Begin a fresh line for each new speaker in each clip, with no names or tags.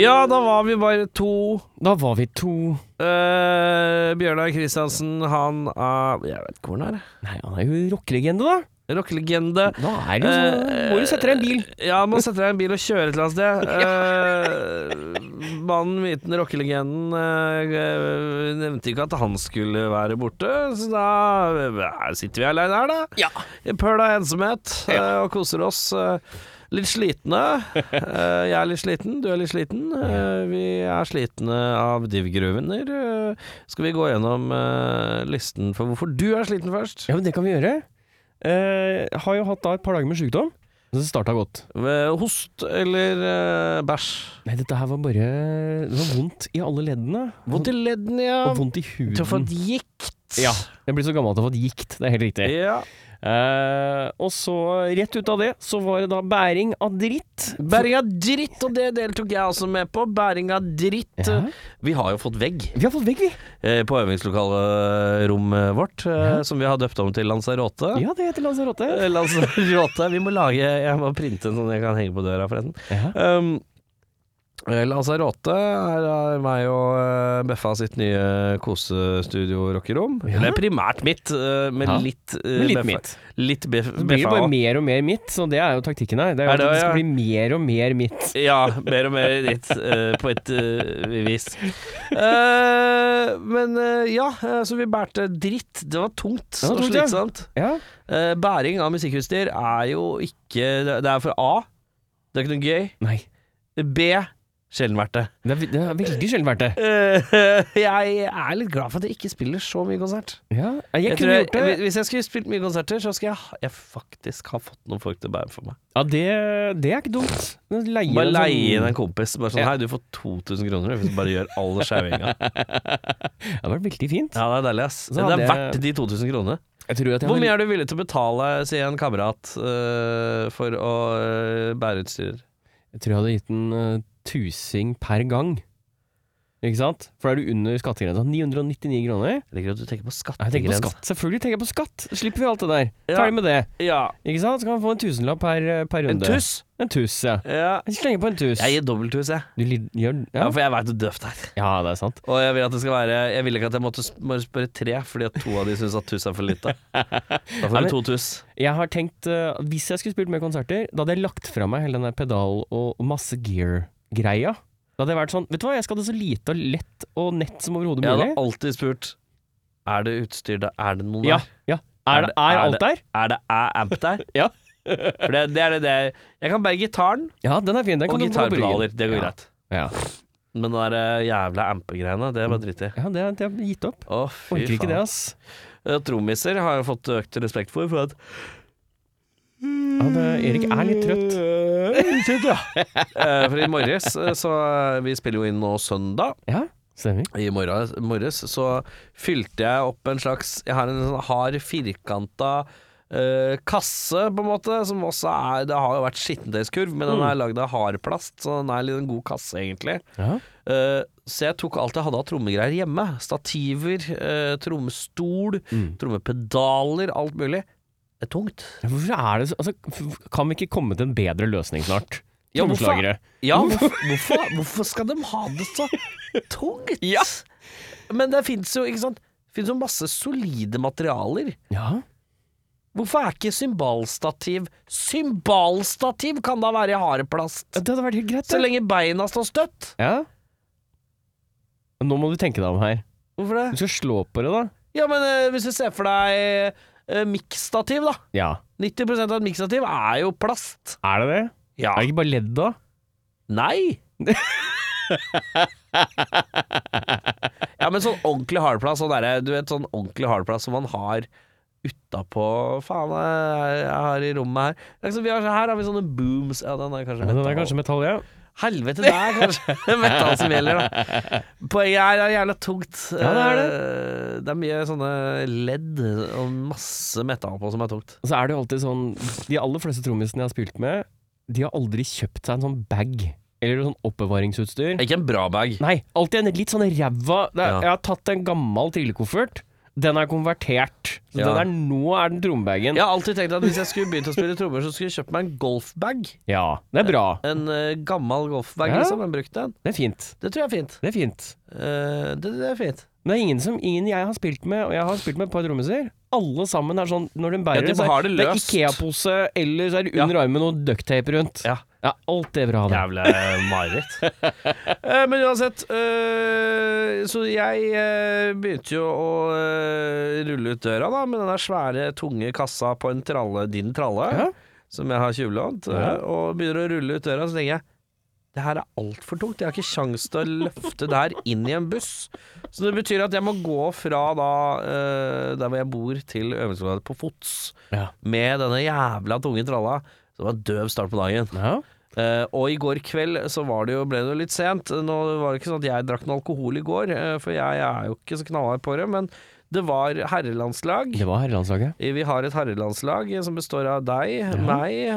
Ja, da var vi bare to.
Da var vi to
Eh, Bjørnar Kristiansen, han er Jeg vet ikke hvor han er.
Nei, han er jo rockelegende, da.
Rockelegende. Eh,
Da er det jo sånn Må jo sette deg i en bil.
Ja, må sette deg i en bil og kjøre et eller annet sted. Eh, mannen, myten, rockelegenden eh, nevnte ikke at han skulle være borte, så da eh, sitter vi aleine her, da.
Ja.
I pøl av ensomhet eh, og koser oss. eh, Litt slitne. Eh, Jeg er litt sliten, du er litt sliten. Eh, Vi er slitne av div-gruvener. Eh, Skal vi gå gjennom eh, listen for hvorfor du er sliten først?
Ja, men det kan vi gjøre. Eh, har jo hatt da et par dager med sykdom. Så det starta godt.
Ved Eh, Host eller eh, bæsj?
Nei, dette her var bare Det var vondt i alle leddene.
Vondt i leddene, ja.
Og vondt i huden.
Til å få et gikt.
Ja. Jeg blir så gammel at jeg har fått gikt. Det er helt riktig.
ja.
Eh, og så, rett ut av det, så var det da bæring av dritt.
Bæring av dritt, og det deltok jeg også med på. Bæring av dritt.
Ja.
Vi har jo fått vegg
Vi har fått vegg, vi.
eh, på øvingslokalrommet vårt, eh, som vi har døpt om til Lanzarote.
Ja, det heter Lanzarote.
Eh, Lanzarote. Vi må lage Jeg må printe en sånn jeg kan henge på døra, forresten.
Ja.
Um, eh, Lanzarote er eh, meg og eh, Beffa sitt nye kosestudio-rockerom.
Ja.
Det er primært mitt, eh, men
Ja.
litt eh,
Men litt
Beffa-
mitt.
Litt Bef-
Så blir det
Beffa
bare
også.
mer og mer mitt, så det er jo taktikken her. Det er jo
Er det
at det skal
det,
bli mer og mer mitt.
Ja, mer og mer ditt, eh, på et eh, vis. Eh, men eh, ja, eh, så vi bærte dritt. Det var tungt
Det var
og
tungt, ja.
slitsomt.
Ja.
Eh, bæring av musikkutstyr er jo ikke Det er for A. Det er ikke noe gøy.
Nei.
B. Sjelden verdt det.
Det er, det er veldig sjelden verdt det.
Eh, jeg er litt glad for at jeg ikke spiller så mye konsert.
Ja. Jeg,
Jeg tror
kunne
jeg,
gjort det.
Hvis jeg skulle spilt mye konserter, så skal jeg, ha- jeg faktisk ha fått noen folk til å bære for meg.
Ja, det, det er ikke dumt. Leie
Bare
en
leie inn
sånn-
en kompis. Bare sånn,
Ja.
Hei, du får 2000 kroner hvis du bare gjør all skjævinga.
Det hadde vært veldig fint.
Ja, det er deilig, ass.
Så hadde
det er
jeg-
verdt de 2000 kronene.
Jeg tror at jeg
Hvor
vil-
mye er du villig til å betale, sier en kamerat, øh, for å øh, bære utstyr?
Jeg tror jeg hadde gitt en eh, tusing per gang. Ikke sant? For da er du under skattegrensa. 999 kroner.
Jeg liker at du tenker på
Nei, Jeg tenker på
skattegrense.
skatt. Selvfølgelig tenker jeg på skatt! Slipper vi alt det der.
Ja.
Ferdig med det.
Ja.
Ikke sant? Så kan man få en tusenlapp per, eh, per
En
runde.
tuss?
En tuss, ja.
Ja.
Jeg slenger på en tuss.
Jeg gir dobbelttuss, jeg.
Du lid- gjør
Ja,
ja.
for jeg veit det er døvt her.
ja, det er sant.
Og jeg vil at det skal være Jeg vil ikke at jeg måtte sp- bare spørre tre, fordi at to av de syns at tuss er for lite. Da
Nei,
får
men-
du to tuss.
Jeg har tenkt eh, at Hvis jeg skulle spilt mer konserter, da hadde jeg lagt fra meg hele den der pedal- og masse gear-greia. Da hadde jeg vært sånn Vet du hva, jeg skal ha det så lite og lett og nett som overhodet
Jeg
mulig.
hadde alltid spurt Er det utstyr der? Er det noen
Ja,
der?
ja. Er,
Er
det,
det-
er,
er
alt der?
Er det er amp der?
Ja.
For det, det er det, det er- Jeg kan bære gitaren
Ja, den er fin. Den
og
kan du få på ryggen.
gitarpedaler. Det går
Ja.
greit.
Ja.
Men den der eh, jævla ampe-greiene, det er bare dritt i.
Ja, det, det har jeg gitt opp.
Å, fy
Orker ikke det,
faen.
altså. ass.
Eh, Trommiser har jeg fått økt respekt for, for at
Ja, det, Erik er litt trøtt.
Trøtt, Mm, ja. Eh, For i morges, eh, så eh, Vi spiller jo inn nå søndag.
Ja, stemmer.
I morges, morges så fylte jeg opp en slags Jeg har en sånn hard, firkanta eh, kasse, på en måte, som også er Det har jo vært skittentøyskurv, men den er lagd av hard plast, så den er litt en god kasse, egentlig.
Ja.
Eh, så jeg tok alt jeg hadde av trommegreier hjemme. Stativer, eh, trommestol, trommepedaler, alt mulig. Det er tungt.
Hvorfor er det så altså, f- Kan vi ikke komme til en bedre løsning snart?
Ja, hvorfor-
Trommeslagere.
Ja, hvorfor, hvorfor, hvorfor skal de ha det så tungt?
Ja.
Men det fins jo, ikke sant Fins jo masse solide materialer.
Ja.
Hvorfor er ikke symbalstativ Symbalstativ kan da være i hareplast?
Det hadde vært helt greit,
Så
det.
lenge beina står støtt.
Ja. Nå må du tenke deg om her.
Hvorfor
Du
det?
skal slå på det, da.
Ja, men eh, hvis du ser for deg uh, miksstativ, da.
Ja.
90 av et miksstativ er jo plast.
Er det det?
Ja.
Er det ikke bare ledd, da?
Nei! ja, men sånn ordentlig hardplass, sånn derre- du vet sånn ordentlig hardplass som man har utapå Faen, eh, jeg jeg har i rommet her liksom, vi har, så- Her har vi sånne booms Ja, den er kanskje
Den
metall.
er kanskje metall, ja.
Helvete, det er kanskje metall som gjelder, da. Poenget er det er jævla tungt.
Ja, det er det.
Eh, Det er mye sånne ledd og masse metall på som er tungt.
Og så er det jo alltid sånn De aller fleste trommisene jeg har spilt med, de har aldri kjøpt seg en sånn bag. Eller sånn oppbevaringsutstyr.
Ikke en bra bag.
Nei, alltid en litt sånn ræva det er,
Ja.
Jeg har tatt en gammel trillekoffert Den er konvertert. Så
Ja.
den er, nå er den trommebagen.
Jeg har alltid tenkt at hvis jeg skulle begynt å spille trommer, så skulle jeg kjøpt meg en golfbag.
Ja, Det er bra.
En eh, gammel golfbag,
Ja.
liksom. En brukt en.
Det er fint.
Det tror jeg er fint.
Det er fint.
Eh, det, det er fint.
Men det er ingen som Ingen jeg har spilt med, og jeg har spilt med et par trommiser. Alle sammen er sånn når de
Ja,
bærer
de
så er-
har det
det er
løst.
Ikea-pose, eller så er det under armen og ducktape rundt.
Ja.
alt det er bra. Det.
Jævla mareritt. Eh, men uansett, eh, så jeg eh, begynte jo å eh, rulle ut døra da, med den der svære, tunge kassa på en tralle, din tralle,
Ja.
som jeg har tjuvlånt, eh,
Ja.
og begynner å rulle ut døra, så tenker jeg det her er altfor tungt, jeg har ikke sjans til å løfte det her inn i en buss. Så det betyr at jeg må gå fra da, eh, der hvor jeg bor, til øvelsesområdet på fots,
Ja.
med denne jævla tunge tralla. Så det var en døv start på dagen.
Ja.
Eh, og i går kveld så var det jo, ble det jo litt sent. Nå var det ikke sånn at jeg drakk noe alkohol i går, eh, for jeg er jo ikke så knallhard på det, men det var herrelandslag.
Det var herrelandslaget.
Eh, Vi har et herrelandslag eh, som består av deg, meg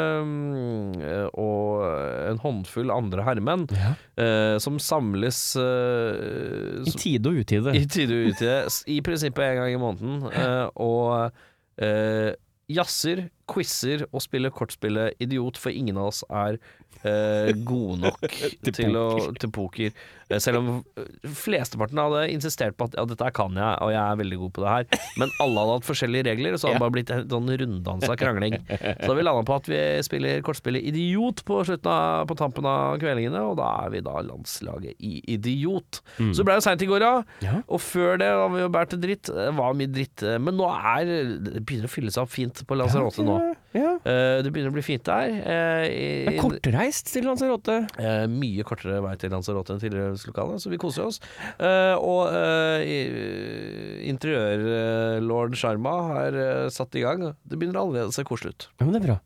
eh, og en håndfull andre herremenn,
Ja.
eh, som samles eh,
I tide og utide.
i tide og utide. s- I prinsippet en gang i måneden. eh, og eh, jazzer, quizer og spiller kortspillet idiot, for ingen av oss er eh, gode nok til, Å, til poker. Eh, Selv om eh, flesteparten hadde insistert på at ja, dette her kan jeg, og jeg er veldig god på det her. Men alle hadde hatt forskjellige regler, så hadde det bare blitt en sånn runddansa krangling. Så da vi landa på at vi spiller kortspillet idiot på, slutten av, på tampen av kveldingene, og da er vi da landslaget i idiot. Så det ble jo seint i går, ja.
Ja.
Og før det har vi jo båret dritt. Det var mye dritt, eh, men nå er det begynner å fylle seg opp fint på Lanzarote nå.
Ja.
Eh, Det begynner å bli fint der. Eh, i-
Det er kortreist til Lanzarote.
Eh, mye kortere vei til Lanzarote enn tidligere lokale, så vi koser oss. Eh, og eh, i- interiørlord Sharma har eh, satt i gang. Det begynner allerede å se koselig ut.
Ja, men det er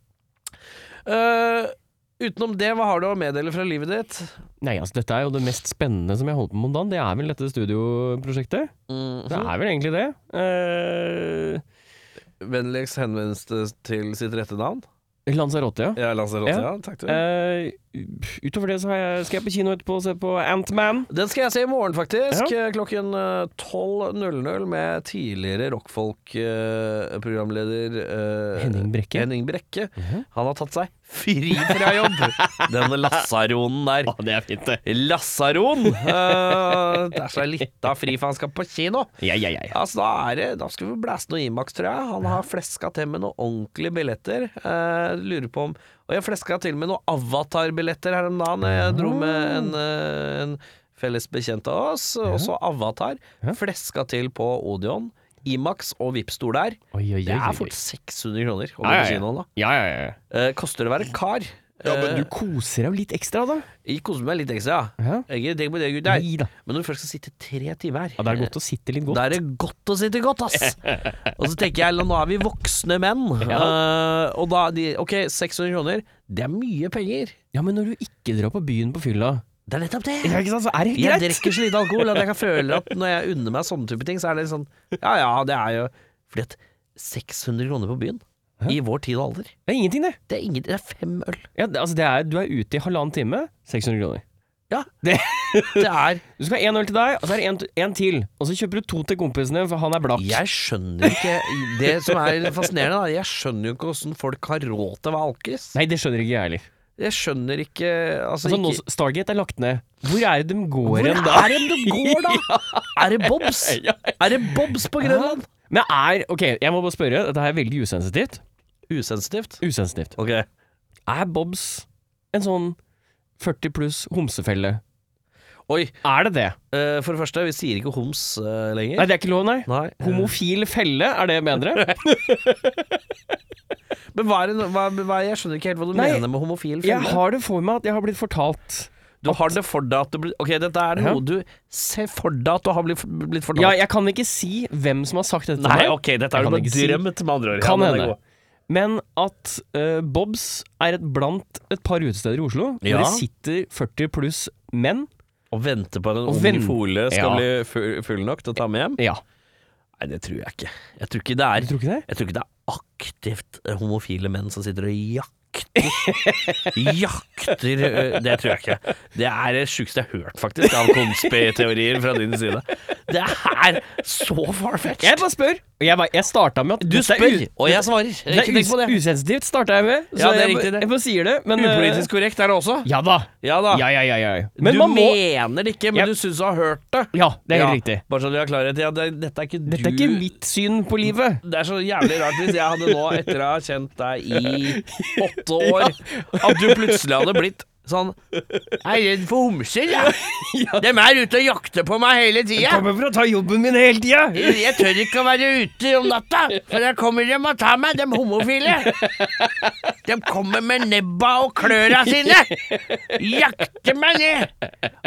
bra.
Eh, utenom det, hva har du å meddele fra livet ditt?
Nei, altså Dette er jo det mest spennende som jeg holder på med om dagen. Det er vel dette studioprosjektet. Det er vel egentlig det. Eh,
Vennligst henvendst til sitt rette navn.
Eh, Lanzarote, ja.
Ja, Lanzarote,
Ja.
ja. Takk til
Eh, utover det så har jeg, skal jeg på kino etterpå og se på Ant-Man
Den skal jeg se i morgen, faktisk. Klokken eh, 12.00 med tidligere rockfolk-programleder eh,
Henning Brekke.
Henning Brekke. Han har tatt seg fri fra jobb! Denne lasaronen der.
det er fint, det.
Lasaron! Uh, det er så litt av fri, for han skal på kino.
Ja, ja, ja.
Altså, da, er det, da skal vi blæste noe Imax, tror jeg. Han har fleska til med noen ordentlige billetter. Eh, lurer på om Og jeg fleska til med noen Avatar-billetter her om dagen. Jeg dro med en, eh, en felles bekjent av oss, også Avatar. Fleska til på Odeon. Imax og Vipps-stol der.
Oi, oi, oi,
Det
oi, oi.
er fort 600 kroner å gå på
Ja, ja, ja.
kinoen, da.
Ja, ja, ja.
Eh, koster det å være kar?
ja, men du
Eh,
koser deg jo litt ekstra, da.
jeg koser meg litt ekstra, ja.
Ja.
Ikke tenk på det, gutter.
Nei da.
Men når du først skal sitte tre timer
Ja, det er godt å sitte litt godt.
da er det godt å sitte godt, ass. Og så tenker jeg, nå er vi voksne menn. Eh, og da de, Ok, 600 kroner, det er mye penger.
Ja, men når du ikke drar på byen på fylla,
Det er nettopp det.
ja, ikke sant, så er det
Jeg
helt greit.
drikker så lite alkohol at jeg kan føle at når jeg unner meg sånne type ting, så er det sånn Ja ja, det er jo Fordi at 600 kroner på byen, i vår tid og alder,
Det er ingenting, det.
det er, ingen, det er fem øl.
Ja, det, altså, det er, du er ute i halvannen time, 600 kroner.
Det er
Du skal ha én øl til deg, og så er det en, en til. Og så kjøper du to til kompisen din, for han er blakk.
Jeg skjønner ikke Det som er fascinerende, da, jeg skjønner jo ikke åssen folk har råd til å være alkis.
Nei, det skjønner ikke jeg heller.
Jeg skjønner ikke Altså,
Altså,
ikke,
nå, Stargate er lagt ned. Hvor er det de går
Hvor
hen, da?
er det du går, da? Er det Bobs? Er det Bobs på Grønland?
Men er Ok, jeg må bare spørre. Dette er veldig usensitivt.
Usensitivt.
Usensitivt.
Ok.
Er Bobs en sånn 40 pluss homsefelle?
Oi,
Er det det?
eh, for det første, vi sier ikke homs eh,
Nei,
lenger.
det er ikke lov, nei.
Nei.
Homofil felle, er det bedre?
Men hva er det, hva, hva, jeg skjønner ikke helt hva du
Nei,
mener med homofil
Jeg
felle.
har det for meg at jeg har blitt fortalt
Du har det for deg at du blir Ok, dette er
Ja.
noe du ser for deg at du har blitt, blitt fortalt.
Ja, jeg kan ikke si hvem som har sagt dette til
Nei,
meg.
ok, dette har du
Jeg kan
bare
ikke si.
drømt, med andre ord.
Kan
Ja, den er
hende.
god.
Men at eh, Bobs er et blant et par utesteder i Oslo
Ja.
hvor det sitter 40 pluss menn.
Å vente på at en
Å
ung
vente.
fole skal
Ja.
bli full, full nok til å ta med hjem?
Ja.
Nei, det tror jeg ikke. Jeg tror ikke det
Du
er
tror ikke det?
Jeg tror ikke det er aktivt eh, homofile menn som sitter og jakker jakter Jakter eh, Det tror jeg ikke. Det er det sjukeste jeg har hørt, faktisk, av konspiteorier fra din side. Det er så
Jeg
far-fetched.
bare spør! Og jeg, bare- jeg starta med at
Du
dette er
spør,
u-
og jeg svarer.
Det
Ikke
er
tenk på
us
det.
usensitivt, starta jeg med.
Ja, det er
jeg,
riktig, det.
bare- jeg bare sier det, men eh,
Upolitisk korrekt er det også.
Ja da.
Ja da.
Ja, ja, ja, ja. Men
du
man må
mener det ikke, men
Ja.
du syns du har hørt det.
Ja, det er helt
Ja,
riktig.
Bare så du har klarhet i at det, dette er ikke
Dette er
du
ikke mitt syn på livet.
Det er så jævlig rart hvis jeg hadde nå, etter å ha kjent deg i åtte år, at du plutselig hadde blitt sånn Jeg er redd for homser, jeg. De er ute og jakter på meg hele tida.
Kommer for å ta jobben min hele tida!
Jeg tør ikke å være ute om natta, for da kommer de og tar meg, de homofile. De kommer med nebba og kløra sine. Jakter meg ned.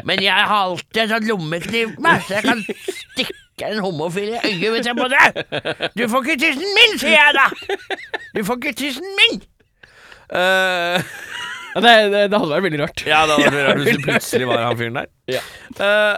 Men jeg har alltid en sånn lommekniv på meg, så jeg kan stikke en homofil i øyet hvis jeg må det. Du får ikke tissen min, sier jeg da. Du får ikke tissen min.
Eh, Ja, det, det, det hadde vært veldig rart.
ja, det hadde vært rart hvis det plutselig var han fyren der.
Ja.
Eh,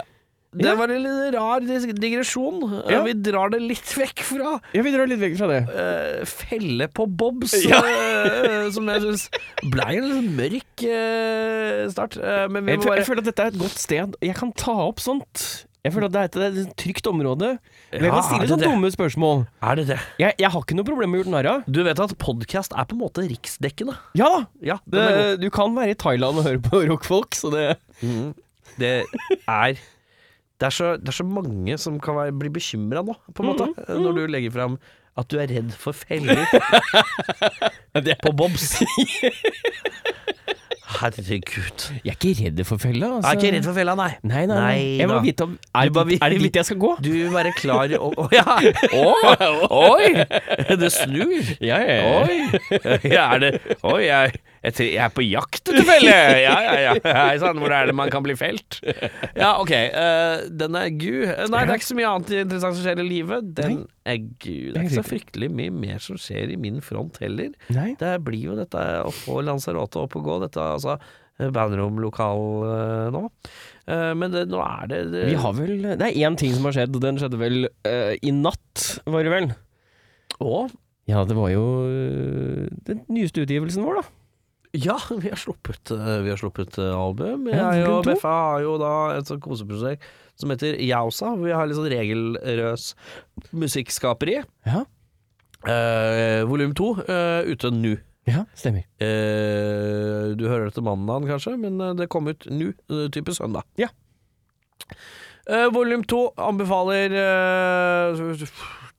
det var en litt rar dis- digresjon. Eh,
Ja.
Vi drar det litt vekk fra
Jeg vil dra litt vekk fra det.
eh, felle på Bobs,
Ja.
eh, som jeg syns ble en litt mørk eh, start. Eh, men vi
Jeg,
må
føl- jeg
bare
føler at dette er et godt sted. Jeg kan ta opp sånt. Jeg føler at dette er et trygt område. Men jeg
Ja,
kan
er
stille
det
sånne
det?
dumme spørsmål.
Er det det?
Jeg, jeg har ikke noe problem med å gjøre narr av.
Du vet at podkast er på en måte riksdekkende?
Ja da!
Ja,
Det,
den er god.
du kan være i Thailand og høre på rockfolk, så det
det er det er, så, det er så mange som kan være, bli bekymra nå, på en måte, eh, når du legger fram at du er redd for feller
Det-
på Bobs. Herregud.
Jeg er ikke redd for fella, altså.
Jeg er ikke redd for fella, nei.
Nei, nei, nei.
Nei
Jeg må
da.
vite om Er,
Du bare
dit- er det
vil-
dit jeg skal gå?
Du vil være klar og Å ja! Å, oi! Det snur.
Ja, ja,
Oi! Ja, er det Oi, jeg, jeg, tre- jeg er på jakt etter felle! Ja, ja, ja. Hei sann, hvor er det man kan bli felt? Ja, OK. eh, den er gu. Eh, Nei, det er ikke så mye annet interessant som skjer i livet. Den er gu. Det er ikke så fryktelig mye mer som skjer i min front heller.
Nei.
Det blir jo dette å få Lanzarote opp og gå, dette altså bandrom-lokal eh, nå. Eh, men det, nå er det, det
Vi har vel Det er én ting som har skjedd, og den skjedde vel eh, i natt, var det vel?
Å,
Ja, det var jo eh, den nyeste utgivelsen vår, da.
Ja, vi har sluppet, eh, vi har sluppet eh, album.
Ja,
Jeg og
hvilken to?
Beffa har jo da et sånt koseprosjekt som heter Jausa. Vi har litt sånn regelrøs musikkskaperi.
Ja,
Uh, Volum to eh, ute nå.
ja stemmer.
Eh, du hører det til mandagen kanskje, men eh, det kom ut nå, eh, type søndag.
Ja.
Eh, volum to anbefaler eh,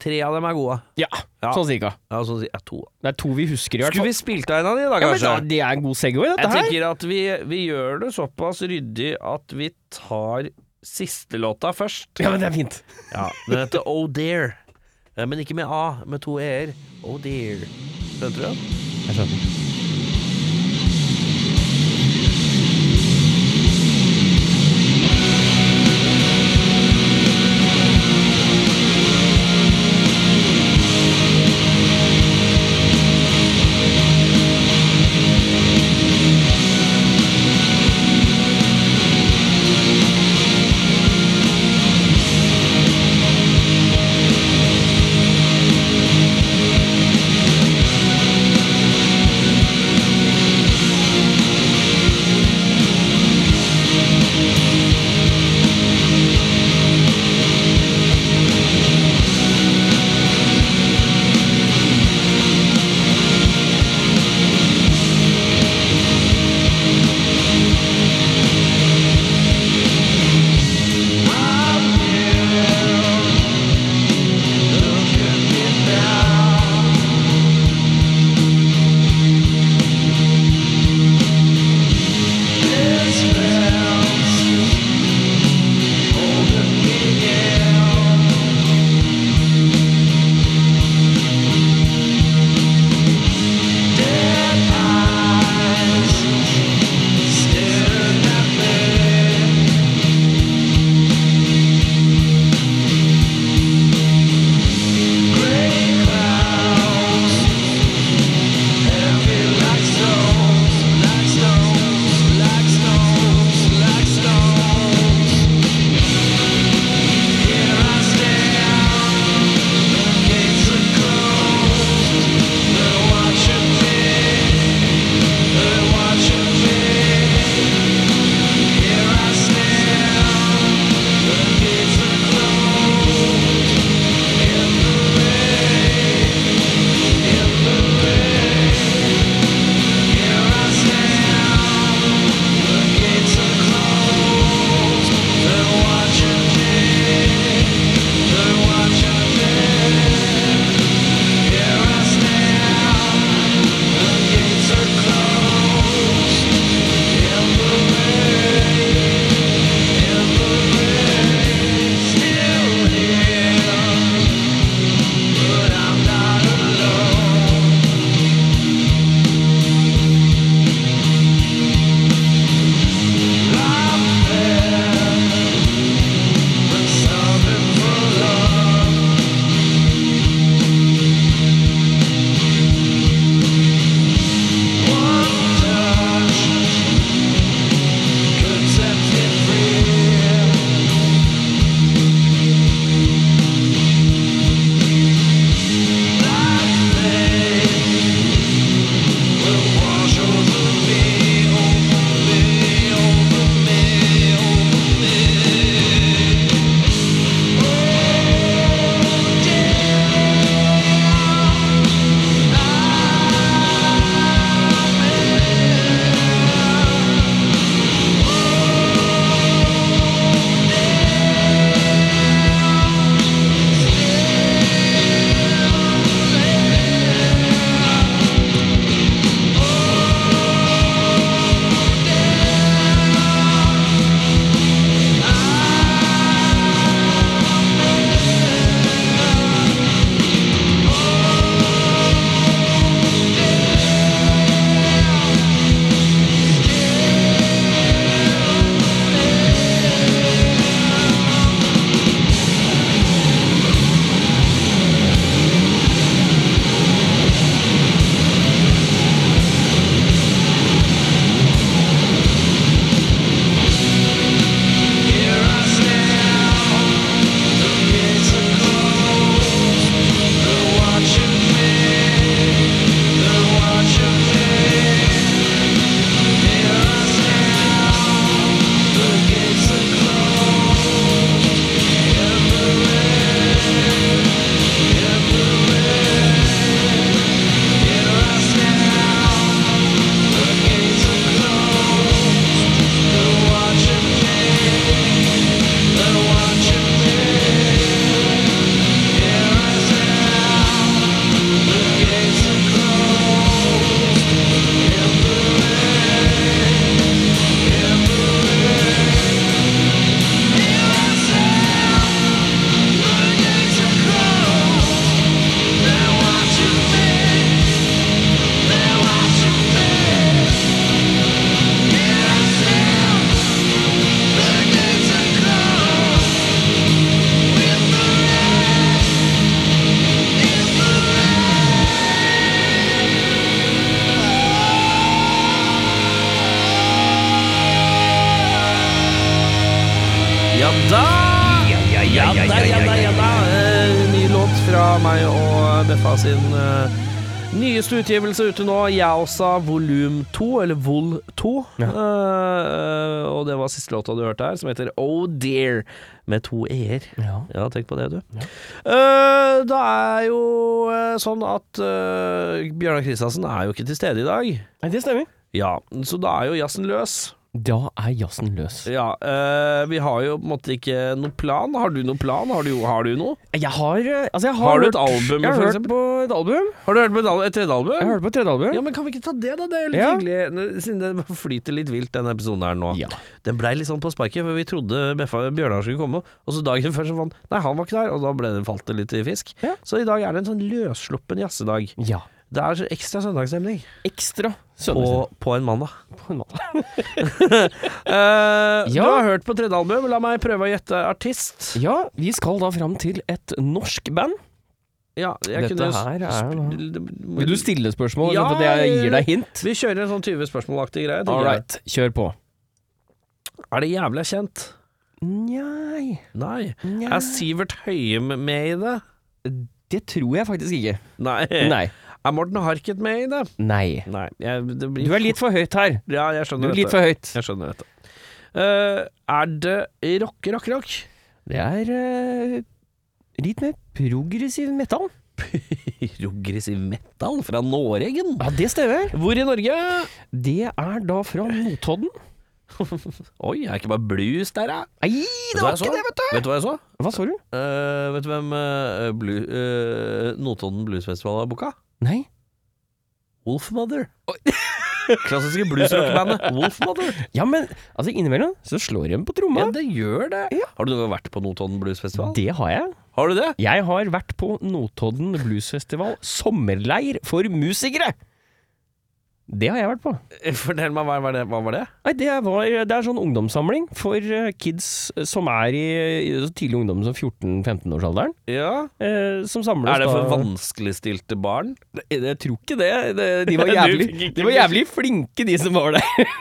Tre av dem er gode.
Ja,
Ja.
sånn cirka.
Ja, så sier jeg to.
Det er to vi husker, i hvert
Skulle
fall.
vi spilt av en av de, da,
Ja, men
kanskje?
da, Det er en god segway, dette
Jeg
her.
tenker at vi, vi gjør det såpass ryddig at vi tar siste låta først.
Ja, men det er fint.
Ja, Den heter Oh Dear, Eh, men ikke med A, med to e-er. Oh Dear. Skjønte du den?
Jeg skjønner.
Thank
Ja, ja, ja, ja, ja, ja, ja. Eh, Ny låt fra meg og Beffa sin eh, nyeste utgivelse ute nå. Yaosa volum 2, eller Vol 2. Eh, eh, og det var siste låta du hørte her, som heter Oh Dear, med to e-er.
Ja.
Ja, tenk på det, du. Eh, det er jo eh, sånn at eh, Bjørnar Kristiansen er jo ikke til stede i dag.
Nei, det stemmer.
Ja, så da er jo jazzen løs.
Da er jazzen løs.
Ja, eh, vi har jo på en måte ikke noen plan. Har du noen plan? Har du, har du noe?
Jeg har eh, Altså, jeg har,
Har du et
hørt-
album,
Jeg
for
har hørt
eksempel?
på et album.
Har du hørt på et al- et tredje
Jeg
album?
hørte på et tredje album.
Ja, men kan vi ikke ta det, da? Det er jo litt
Ja.
hyggelig, n- siden det bare flyter litt vilt, denne episoden her nå.
Ja.
Den blei litt sånn på sparket, for vi trodde Beffa Bjørnar skulle komme, og så dagen før så fant Nei, han var ikke der, og da ble det, falt det litt i fisk.
Ja.
Så i dag er det en sånn løssluppen jazzedag.
Ja.
Det er så ekstra søndagsstemning.
Ekstra søndagsrevy.
Og på en mandag.
På en måte.
Eh, Du
Ja.
har hørt på tredje album, la meg prøve å gjette artist.
Ja, vi skal da fram til et norsk band.
Ja, jeg
Dette
kunne
her er jo
sp- det-
Vil du stille spørsmål?
Ja,
Ja, for jeg gir deg hint.
Vi kjører en sånn 20 spørsmål-aktig greie. tenker
All right, kjør på.
jeg. Er det jævlig kjent?
Njei,
Nei.
njei.
Er Sivert Høyem med i det?
Det tror jeg faktisk ikke.
Nei.
Nei.
Er Morten Harket med i det?
Nei.
Nei. Jeg, det blir
Du er litt for høyt her.
Ja, jeg
Du
skjønner
er litt
dette.
for høyt.
Jeg skjønner dette. Eh, er det rock, rock, rock?
Det er eh, litt mer progressiv metal.
Progressiv metal fra Noregen?
Ja, det stemmer.
Hvor i Norge?
Det er da fra Notodden.
Oi, er ikke bare blues der, da?
Nei, det var
Vet du hva jeg så?
ikke det, vet du!
Vet du hva jeg så?
Hva så du?
Eh, vet du hvem eh, blu- eh, Notodden Bluesfestival har booka?
Nei.
Wolfmother. Klassiske bluesrockbandet Wolfmother.
Ja, men altså innimellom så slår de på tromma.
Ja, det gjør det. Har du noen gang vært på Notodden Bluesfestival?
Det har jeg.
Har du det?
Jeg har vært på Notodden bluesfestival sommerleir for musikere! Det har jeg vært på.
Eh, Fortell meg, hva var det? Hva var det?
Nei, det, var, det er sånn ungdomssamling for eh, kids som er i, i så tidlig ungdom som 14-15-årsalderen.
Ja.
Eh, som samles
Er det for
da-
vanskeligstilte barn?
Nei, eh, Jeg tror ikke det. det de, var
Du
jævlig,
fikk ikke
de var jævlig flinke, de som var der.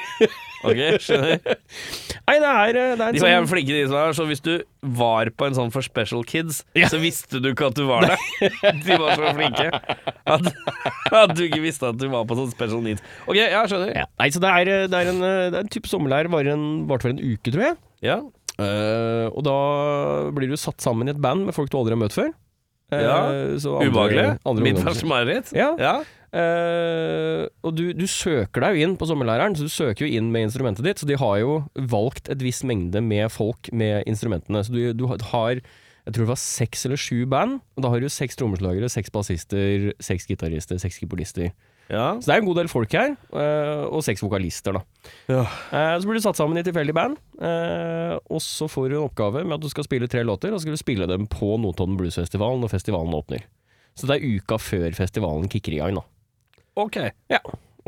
Ok, skjønner.
Nei, det er, eh, det er
De
en
var
sånn-
jævlig flinke, de som var der, så hvis du var på en sånn for special kids,
Ja.
så visste du ikke at du var der. De var så flinke at, at du ikke visste at du var på sånn special needs. Ok, ja, skjønner.
ja. Nei, så det er, eh, det er en, eh, det er en type sommerleir varte var for en uke, tror jeg.
Ja.
Eh, og da blir du satt sammen i et band med folk du aldri har møtt før. Eh,
Ja,
så andre-
Ubehagelig.
andre
Mitt
ungdoms-
verste mareritt.
Ja.
Ja.
Eh, og du, du søker deg jo inn på sommerleireren, så du søker jo inn med instrumentet ditt. Så de har jo valgt et visst mengde med folk med instrumentene. Så du, du har jeg tror det var seks eller sju band. Og da har du seks trommeslagere, seks bassister, seks gitarister, seks keyboardister.
ja.
Så det er en god del folk her, eh, og seks vokalister, da.
Ja.
Eh, Så blir du satt sammen i et tilfeldig band, eh, og så får du en oppgave med at du skal spille tre låter, og så skal du spille dem på Notodden Bluesfestivalen når festivalen åpner. Så det er uka før festivalen kicker i gang, da.
Ok.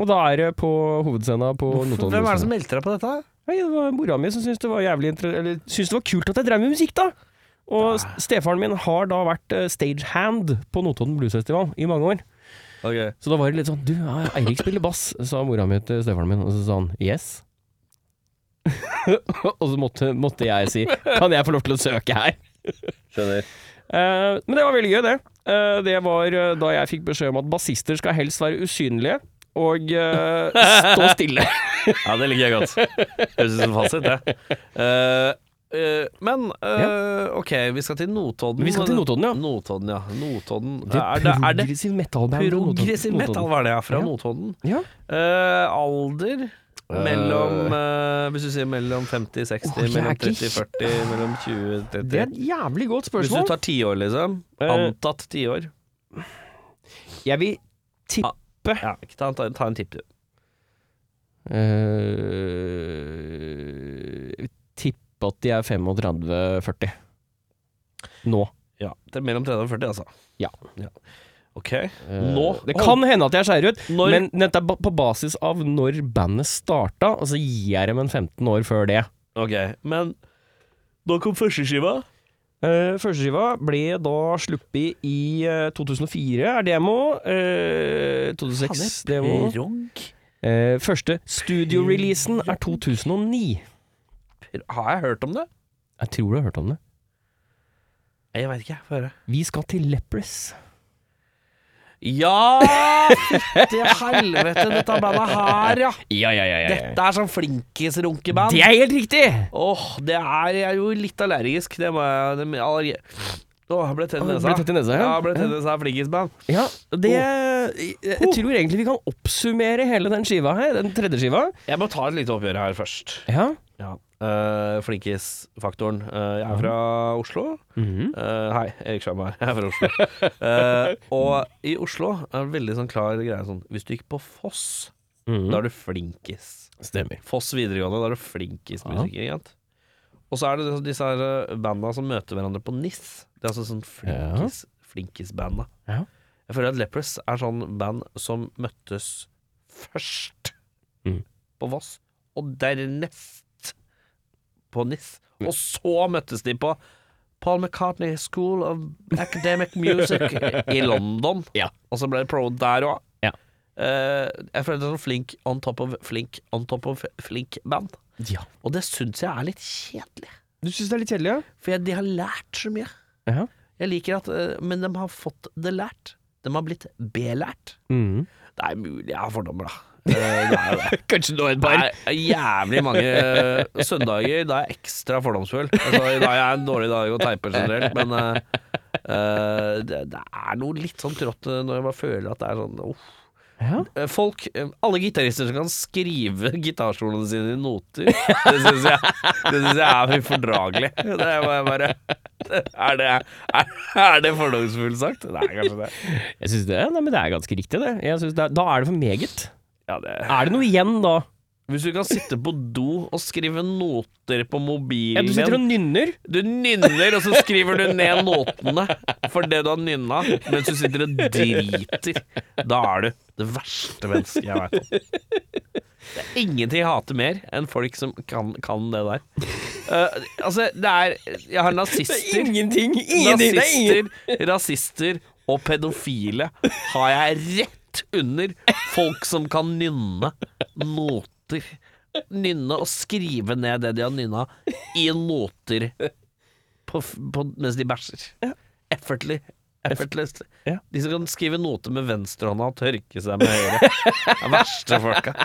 Og da er det på hovedscena på Notodden.
Hvem er det som meldte deg på dette?
Nei, det var mora mi som syntes det var jævlig inter- Eller syntes det var kult at jeg drev med musikk, da! Og s- stefaren min har da vært eh, stagehand på Notodden Bluesfestival i mange år.
Ok.
Så da var det litt sånn Du, ja, Eirik spiller bass, sa mora mi til stefaren min, og så sa han yes. og så måtte, måtte jeg si kan jeg få lov til å søke her?
Skjønner.
Eh, men det var veldig gøy, det. Eh, det var eh, da jeg fikk beskjed om at bassister skal helst være usynlige og eh, stå stille.
Ja, det liker jeg godt. Høres ut som fasit, det. Eh, eh, men eh, ok, vi skal til Notodden.
Vi skal til Notodden, ja.
Notodden, ja. Notodden. Eh,
Det
Er det, er det
progressiv metal-band.
progressiv metal, var det, ja, fra
Ja.
Notodden?
Ja.
Eh, alder? Mellom eh, Hvis du sier mellom 50 60,
Åh, jeg er
mellom
ikke
30 40, mellom 20
Det er
30
et jævlig godt
Hvis du
spørsmål.
tar tiår, liksom.
Eh.
Antatt tiår.
Jeg vil tippe
Ja, ikke ta, ta, ta en tipp, du.
Eh, Tippe at de er 35-40. Nå.
Ja, det er mellom 30 og 40, altså.
Ja.
Ok.
Eh,
Nå?
Det kan hende at jeg skeier ut,
Når-
men dette er ba- på basis av når bandet starta, og så gir jeg dem en 15 år før det.
Ok, men Nå kom første skiva.
Uh, Førsteskiva ble da sluppet i eh, 2004, er demo. eh, 2006, demo.
Prog?
Eh, første studio-releasen er 2009.
Har jeg hørt om det?
Jeg tror du har hørt om det.
Jeg veit ikke, jeg. Få høre.
Vi skal til Lepris.
Ja! Fytti helvete, dette bandet her, ja.
Ja, ja, ja.
Dette er sånn flinkis-runkeband.
Det er helt riktig!
Åh, det er Jeg er jo litt allergisk. Det må jeg det, allergi. Åh, jeg ble tett i
Ble
nesa.
tett i nesa,
Ja,
ja.
jeg ble tett i nesa av flinkisband.
Ja, det jeg, jeg tror egentlig vi kan oppsummere hele den skiva her, den tredje skiva.
Jeg må ta et lite oppgjør her først.
Ja.
Ja. Eh, Flinkis-faktoren. Eh, jeg er fra Oslo. Eh, hei, Erik Skjerm her. Jeg er fra Oslo. Eh, og i Oslo er det en veldig sånn klar greie sånn Hvis du gikk på Foss,
Mm.
da er du flinkis.
Stemmer.
Foss videregående, da er du flinkest
Ja.
musiker, ikke sant? Og så er det disse- disse her eh, banda som møter hverandre på NIS. Det er altså sånn flinkis, flinkis-banda.
Ja.
Jeg føler at Lepros er sånn band som møttes først
Mm.
på Voss, og dernest på NIS.
Mm.
Og så møttes de på Paul McCartney School of Academic Music i London.
Ja.
Og så ble det pro der òg.
Ja.
jeg føler det er sånn flink on top of flink on top of flink band.
Ja.
Og det syns jeg er litt kjedelig.
Du syns det er litt kjedelig,
For jeg, de har lært så mye.
ja? Ja.
Jeg liker at eh, Men de har fått det lært. De har blitt belært.
Mm.
Det er mulig jeg har fordommer, da. Eh, det er jo det.
Kanskje nå et
Det er jævlig mange eh, søndager da er jeg ekstra fordomsfull. Altså, I dag er en dårlig dag å teipe generelt, men eh, eh, det, det er noe litt sånn trått eh, når jeg bare føler at det er sånn uff.
Ja.
Eh, Folk, eh, alle gitarister som kan skrive gitarsoloene sine i noter, det syns jeg, det synes jeg er ufordragelig. Det er bare, bare er, det, er, er det fordomsfullt sagt? Nei, kanskje det.
Jeg synes det, nei, men det er ganske riktig, det. Jeg synes det er, da er det for meget.
Ja, det.
Er det noe igjen da?
Hvis du kan sitte på do og skrive noter på mobilen
Ja, du sitter
din,
og nynner.
Du nynner, og så skriver du ned notene for det du har nynna, mens du sitter og driter. Da er du det verste mennesket jeg veit om. Det er ingenting jeg hater mer enn folk som kan, kan det der. Eh, altså, det er Jeg har nazister,
ingenting!
nazister, rasister og pedofile har jeg rett under folk som kan nynne noter. Nynne og skrive ned det de har nynna, i noter på, f- på, mens de bæsjer. Effortly. Effortless.
Ja.
De som kan skrive noter med venstrehånda og tørke seg med høyre. Det er verste folka.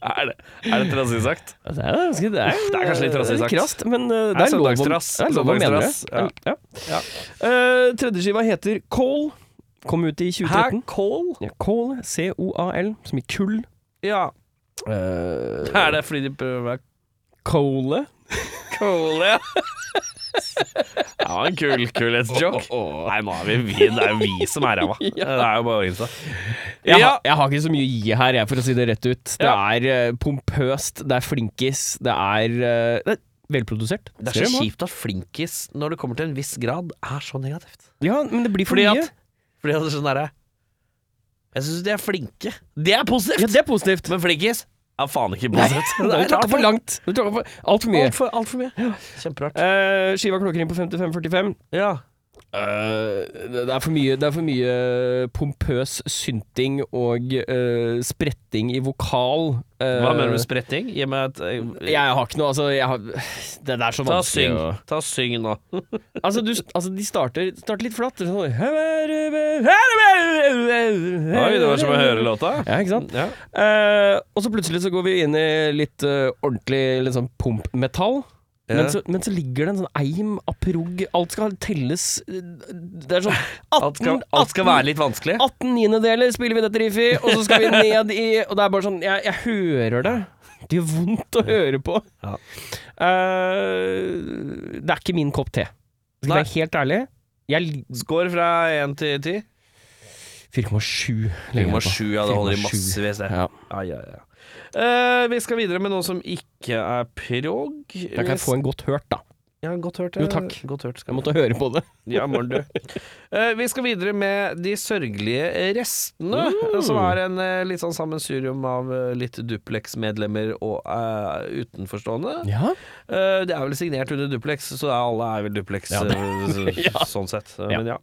Er det, er det trassig sagt?
Ja, Altså, Det er, ganske, det, er,
Det er kanskje litt trassig sagt.
Krast, men uh, det
Det
er
er
lov å-
søndagstrass.
det er lov å mene det.
Søndagstrass, ja.
Ja.
Ja.
Eh, tredje skiva heter Coal. Kom ut i 2013.
Coal?
Ja, Coal, C-O-A-L, som i kull.
Ja. Eh.
Uh,
Er det fordi de prøver å være
Coale.
cool, ja? Det var en kul kulhetsjoke. Nei, nå er vi, vi Det er jo vi som er ræva. Det er jo bare å innse.
Jeg,
Ja.
har- jeg har ikke så mye å gi her, jeg, for å si det rett ut. Det
Ja.
er eh, pompøst, det er flinkis, det er, eh, det er velprodusert.
Det er
Ser
så
du, man?
kjipt at flinkis, når det kommer til en viss grad, er så negativt.
Ja, men det blir for
Fordi
mye.
at, fordi at det er sånn derre Jeg syns de er flinke. Det er positivt!
Ja, det er positivt.
Men flinkis er faen ikke positivt.
Nå har
Det
du
er rart.
tråkka for langt. Du tråkka for altfor mye.
Altfor alt for mye. Kjemperart.
Eh, skiva klokker inn på 55.45.
Ja.
Eh, det det er for mye, det er for mye pompøs synting og eh, spretting i vokal. Eh,
Hva mener du med spretting? Gi meg et eh,
Jeg har ikke noe, altså jeg har, Det der er så
Ta og
vanskelig
syng.
å-
Ta og syng nå.
altså, du, altså, de starter, starter litt flatt. Sånn. Oi,
låta.
Ja, ikke sant?
Ja.
Eh, og så plutselig så går vi inn i litt eh, ordentlig litt sånn pumpmetall.
Ja.
Men, så, men så ligger det en sånn eim av prog Alt skal telles eh, Det er sånn 18,
Alt skal, alt skal være litt vanskelig.
18 niendedeler spiller vi dette riffet i, og så skal vi ned i Og det er bare sånn Jeg, jeg hører det. Det gjør vondt å høre på.
Ja.
Eh, det er ikke min kopp te. Skal jeg være helt ærlig? Jeg li-
Skår fra én til ti.
4,7 legger jeg på.
4,7, ja. Det holder i
4,7.
massevis, det.
Ja.
Ja, ja, ja. Eh, vi skal videre med noe som ikke er prog.
Da kan jeg få en godt hørt, da.
Ja, godt hørt.
Jo,
eh,
takk.
Godt hørt skal
Jeg
jeg
måtte høre på det.
Ja, morgen, du. Eh, vi skal videre med De sørgelige restene,
Uh.
eh, som er en eh, litt sånn sammensurium av eh, litt Duplex-medlemmer og eh, utenforstående.
Ja.
Eh, det er vel signert under Duplex, så er alle er vel Duplex, eh, så- sånn sett. Eh, Men ja.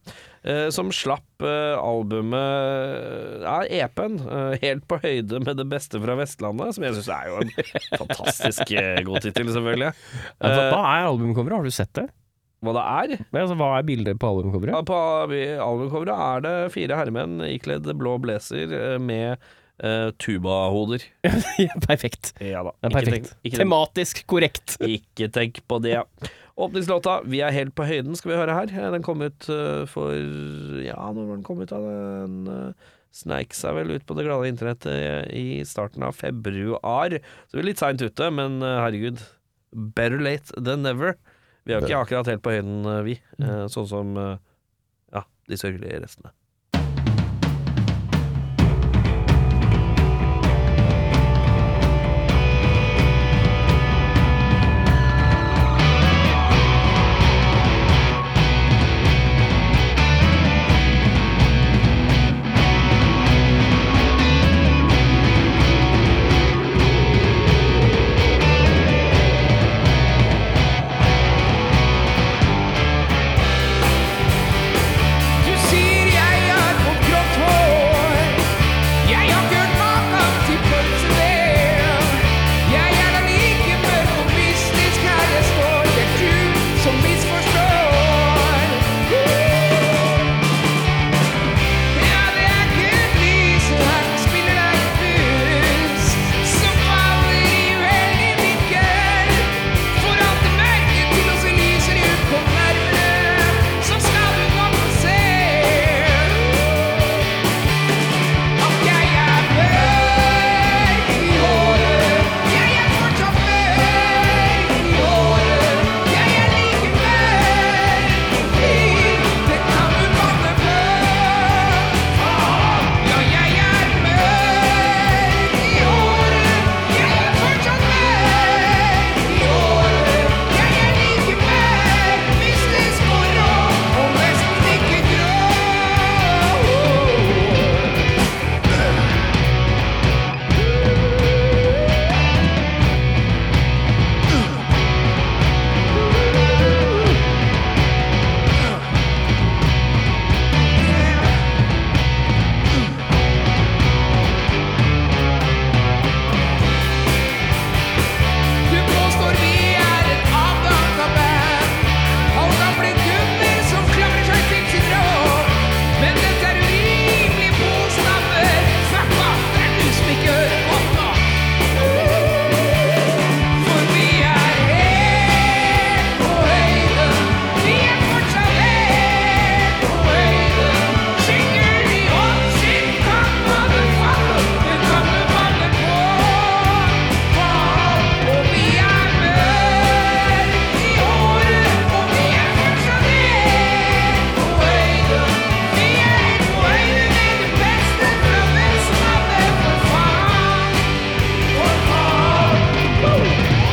eh, som slapp eh, albumet Ja, EP-en, eh, helt på høyde med det beste fra Vestlandet, som jeg syns er jo en fantastisk eh, god tittel, selvfølgelig.
Ja, hva,
Eh,
hva er albumcoveret? Har du sett det?
hva det er?
Men, altså, hva er bildet på albumcoveret?
Ja, på albumcoveret er det fire herremenn ikledd blå blazer eh, med eh, tubahoder.
perfekt.
Ja da.
Det
Ikke
er perfekt.
tenk- ikke tenk-
Tematisk korrekt.
Ikke tenk på det. Åpningslåta 'Vi er helt på høyden' skal vi høre her. Den kom ut eh, for Ja, når var den kom ut? da? Den eh, sneik seg vel ut på det glade internettet i starten av februar. Så vi er litt seint ute, men eh, herregud. Better late than never. Vi er jo ikke akkurat helt på høyden, eh, vi. eh, Sånn som eh, ja, de sørgelige restene.
Du sier jeg har fått grått hår. Jeg har gjort maken til pølsevev. Jeg er da like mørk og mystisk her jeg står. Det er du som misforstår. Ja, det er Gud lys, og han spiller deg en pust som faller i uheldig vinkel. Forandrer mørket til å se lyser ut på nervene, så skal du nå få se. At jeg er mørk i håret. Jeg er fortsatt mørk i håret. Jeg er like mørk i fyr. Det kan du banne på. Ja, jeg er mørk i håret. Jeg er fortsatt mørk i håret. Jeg er like mørk, mystisk og rå, og nesten ikke grå. Du påstår vi er et avdanka band. Av gamle gutter som klamrer seg til sin råd. Men dette er urimelig påstander. Fuck off, det er du som ikke hører på nå. For vi er helt på høyden. Vi er fortsatt helt på høyden. Skygger i åndssyn kan man falle, det kan man falle på. Og vi er mørk i håret, og vi er fortsatt helt på høyden. Vi er helt på høyden med det beste fra Vestlandet, for faen. For faen.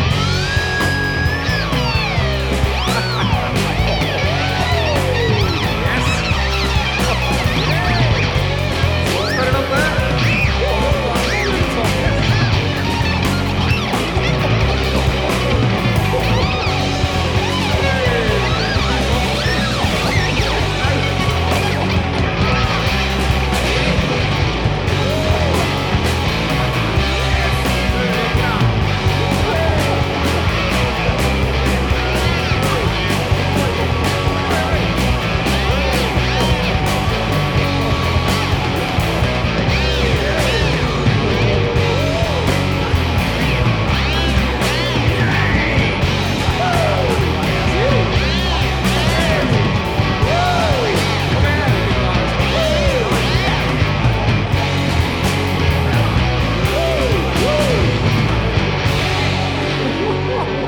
De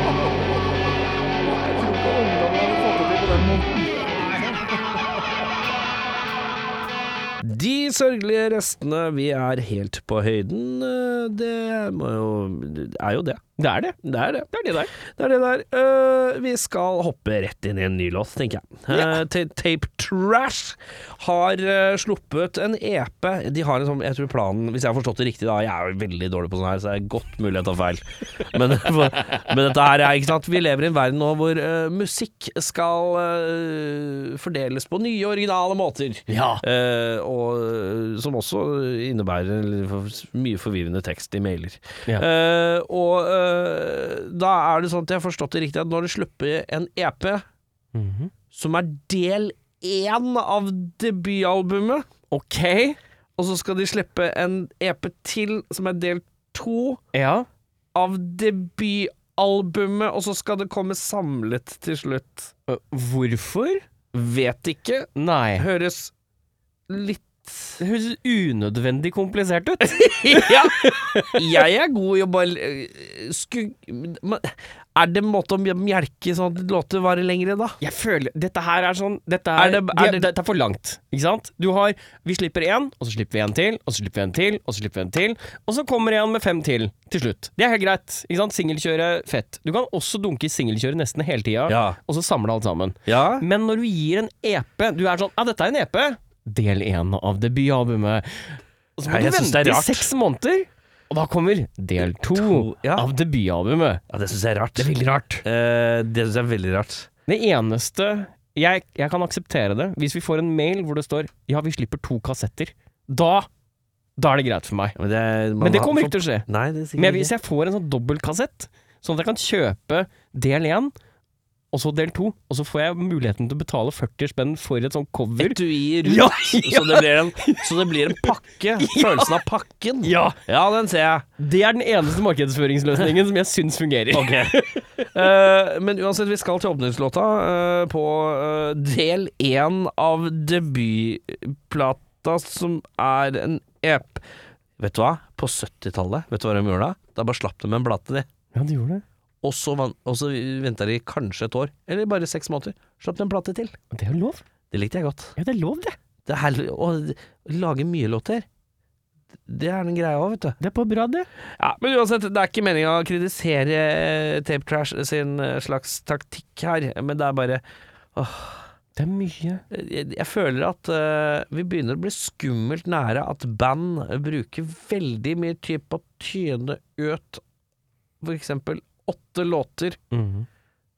De sørgelige restene, vi er helt på høyden. Eh, Det må jo er jo det.
Det er det.
Det er det.
Det er det der.
Det er det der. Eh, vi skal hoppe rett inn i en ny låt, tenker jeg. Eh, Ta- Tape Trash har eh, sluppet en EP. De har en sånn, jeg tror planen Hvis jeg har forstått det riktig, da. Jeg er jo veldig dårlig på sånn her, så det er godt mulig jeg tar feil. Men, men dette her er ikke sant. Vi lever i en verden nå hvor eh, musikk skal eh, fordeles på nye, originale måter.
Ja.
Eh, og eh, som også innebærer litt for- mye forvirrende tekst i mailer.
Ja.
Eh, og eh, da er det sånn at jeg har forstått det riktig at når du slipper en EP
Mhm.
som er del én av debutalbumet,
Ok.
og så skal de slippe en EP til som er del to
Ja.
av debutalbumet, og så skal det komme samlet til slutt.
Øh, Hvorfor?
Vet ikke.
Nei.
Høres litt
Det høres unødvendig komplisert ut.
ja, jeg er god i å bare øh, sku, men Er det en måte å mjelke sånn at låter varer lengre, da?
Jeg føler Dette her er sånn Dette er,
Er det-
de-
er det-
dette er for langt, ikke sant? Du har Vi slipper én, og så slipper vi en til, og så slipper vi en til, og så slipper vi en til, og så kommer en med fem til til slutt. Det er helt greit, ikke sant? Singelkjøre, fett. Du kan også dunke i singelkjøret nesten hele tida,
Ja.
og så samle alt sammen.
Ja.
Men når du gir en EP Du er sånn Ja, dette er en EP. Del én av debutalbumet. Og så må
Nei,
du
jeg synes det er
vente i
rart.
seks måneder, og da kommer del to
To, ja.
av debutalbumet.
Ja, det syns jeg er rart.
Det er veldig rart.
Eh, det syns jeg er veldig rart.
Det eneste jeg, jeg kan akseptere det hvis vi får en mail hvor det står Ja, vi slipper to kassetter. Da, da er det greit for meg.
Men det,
Men det kommer ikke til å skje.
Nei, det sier
Men jeg- hvis jeg får en sånn dobbeltkassett, sånn at jeg kan kjøpe del én og så del to, og så får jeg muligheten til å betale 40 spenn for et sånt cover.
Etui rundt,
Ja,
Så, det blir en, så det blir en pakke. Følelsen av pakken.
Ja!
Ja, den ser jeg.
Det er den eneste markedsføringsløsningen som jeg syns fungerer.
Ok. Eh, men uansett, vi skal til åpningslåta eh, på eh, del én av debutplata, som er en EP. Vet du hva? På 70-tallet, vet du hva de gjorde da? Da bare slapp de en plate, de.
Ja, du gjorde det.
Og så, van- og så venta de kanskje et år, eller bare seks måneder. Slapp de en plate til.
Og Det er jo lov.
Det likte jeg godt.
Ja, det er lov, det.
Det her, å lage mye låter, det er den greia òg, vet du.
Det er bare bra, det.
Ja, men uansett, det er ikke meninga å kritisere eh, Tape Trash sin eh, slags taktikk her, men det er bare eh,
Det er mye
Jeg, jeg føler at eh, vi begynner å bli skummelt nære at band bruker veldig mye tid på å tyne ut f.eks. åtte låter,
Mhm.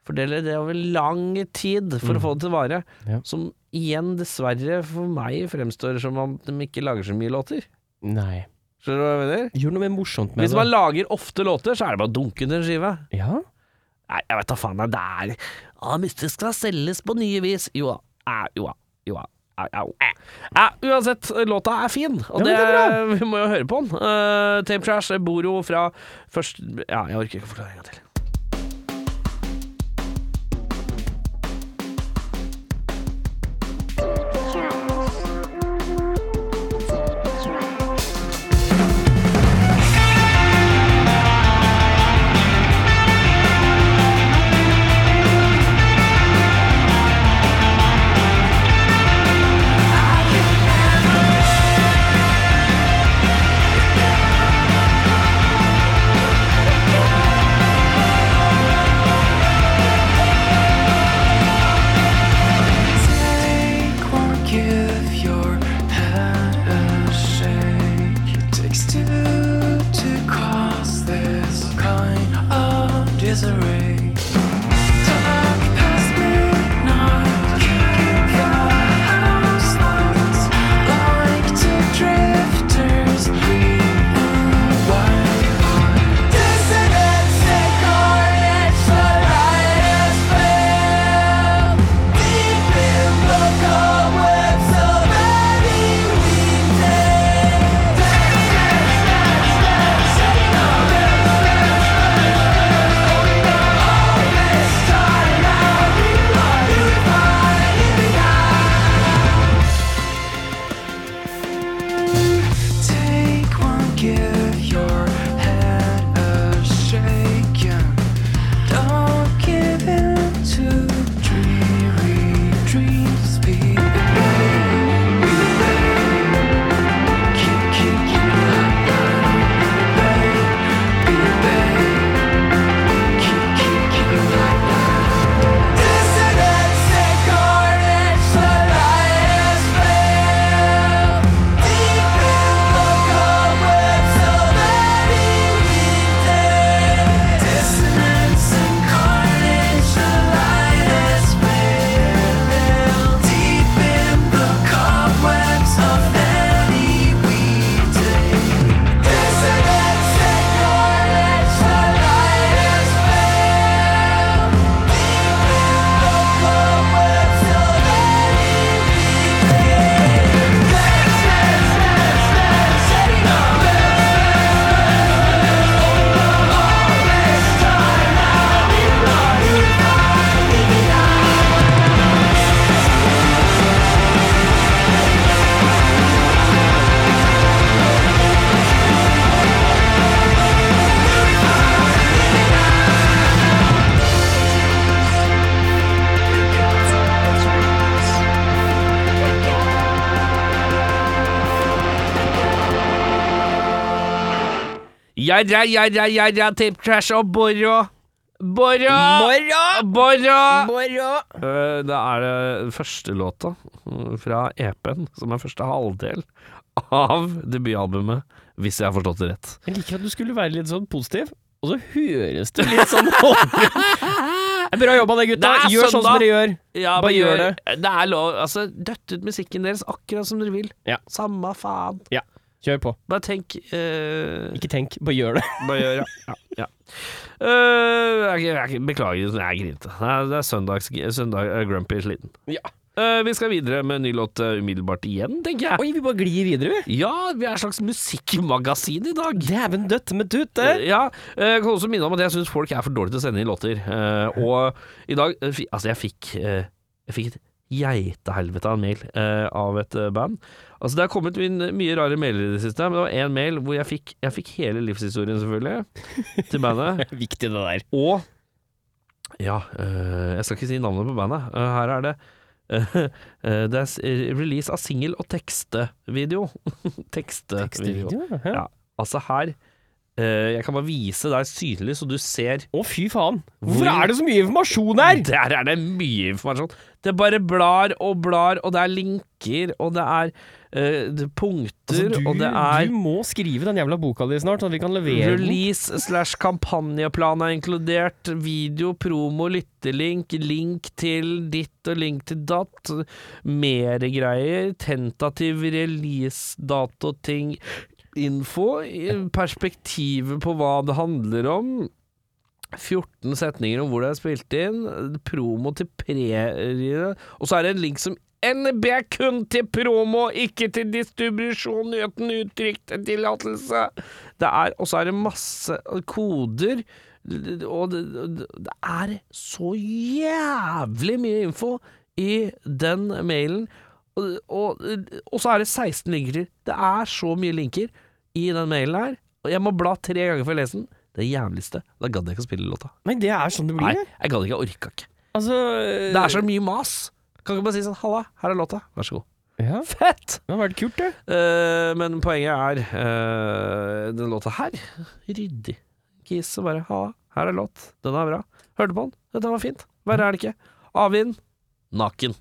fordele det over lang tid for å få det til vare,
Ja.
som igjen dessverre for meg fremstår som om de ikke lager så mye låter.
Nei.
Skjønner du hva jeg mener?
Gjør noe mer morsomt med
Hvis
det.
man lager ofte låter, så er det bare å dunke til en skive.
Ja.
Nei, jeg vet da faen, det er ah, Mystisk skal selges på nye vis. Jo da. Ah, jo da. Jo da. Au, au. Eh. Eh, uansett, låta er fin, og
Ja, men
det,
det er
vi må jo høre på den. Eh, Tape Trash, eh, Boro fra først Ja, jeg orker ikke å forklare en gang til.
I
Jarra, jarra, jarra, Tip Trash og Borå. Borå! Borå! Eh, Det er det første låta mm, fra EP-en, som er første halvdel av debutalbumet, hvis jeg har forstått det rett.
Jeg liker at du skulle være litt sånn positiv, og så høres du litt sånn håndfull Bra jobba, det, gutta.
Det er
Gjør sånn som
søndag.
dere gjør.
Ja,
Bare
men
gjør
Det er lov. Altså, døtt ut musikken deres akkurat som dere vil.
Ja.
Samme faen.
Kjør på.
Bare tenk eh,
Ikke tenk, bare gjør det.
Bare gjør, ja. ja, ja. Eh, jeg, jeg, beklager, jeg grinte. Det er, det er søndags, søndag eh, grumpy sliten.
Ja.
Eh, vi skal videre med en ny låt eh, umiddelbart igjen, tenker jeg.
Oi, vi bare glir videre, vi.
Ja, vi er et slags musikkmagasin i dag.
Dæven døtte med tut, det.
Ja, eh, jeg kan også minne om at jeg syns folk er for dårlige til å sende inn låter. Eh, Og i dag eh, fi- Altså, jeg fikk, eh, jeg fikk et geitehelvete av en mail eh, av et eh, band. Altså, det har kommet inn mye rare mailer i det siste, men det var én mail hvor jeg fikk, jeg fikk hele livshistorien, selvfølgelig, til bandet.
Viktig, det der.
Og Ja, eh, jeg skal ikke si navnet på bandet. Eh, her er det eh, eh, Det er s- release av singel og tekstevideo. tekstevideo.
Ja.
Ja. Altså her eh, Jeg kan bare vise deg synlig, så du ser.
Å, fy faen.
Hvor-
Hvorfor er det så mye informasjon her?
Der er det mye informasjon. Det bare blar og blar, og det er linker, og det er eh, det- punkter,
Altså, du,
og det er
du må skrive den jævla boka di snart, sånn at vi kan levere den.
Release slash kampanjeplan er inkludert. Video, promo, lyttelink, link til ditt og link til datt. Mere greier. Tentativ releasedato-ting. Info. Perspektivet på hva det handler om. 14 setninger om hvor det er spilt inn. Promo til prerie. Og så er det en link som NB kun til promo, ikke til distribusjon uten uttrykt tillatelse. Det er, og så er det masse koder, og det, det er så jævlig mye info i den mailen. Og, og, og så er det 16 linker til. Det er så mye linker i den mailen her. Og jeg må bla tre ganger for å lese den. Det jævligste. Da gadd jeg ikke å spille låta.
Nei, det er sånn det
Nei,
blir.
jeg gadd ikke. Jeg orka ikke.
Altså
Det er så mye mas. Kan ikke bare si sånn Halla, her er låta. Vær så god.
Ja,
Fett!
det har vært kult, det.
Eh, men poenget er eh, Den låta her Ryddig Kiss og bare Ha, her er låt Den er bra Hørte på den Dette var fint Verre er det ikke Avinn Naken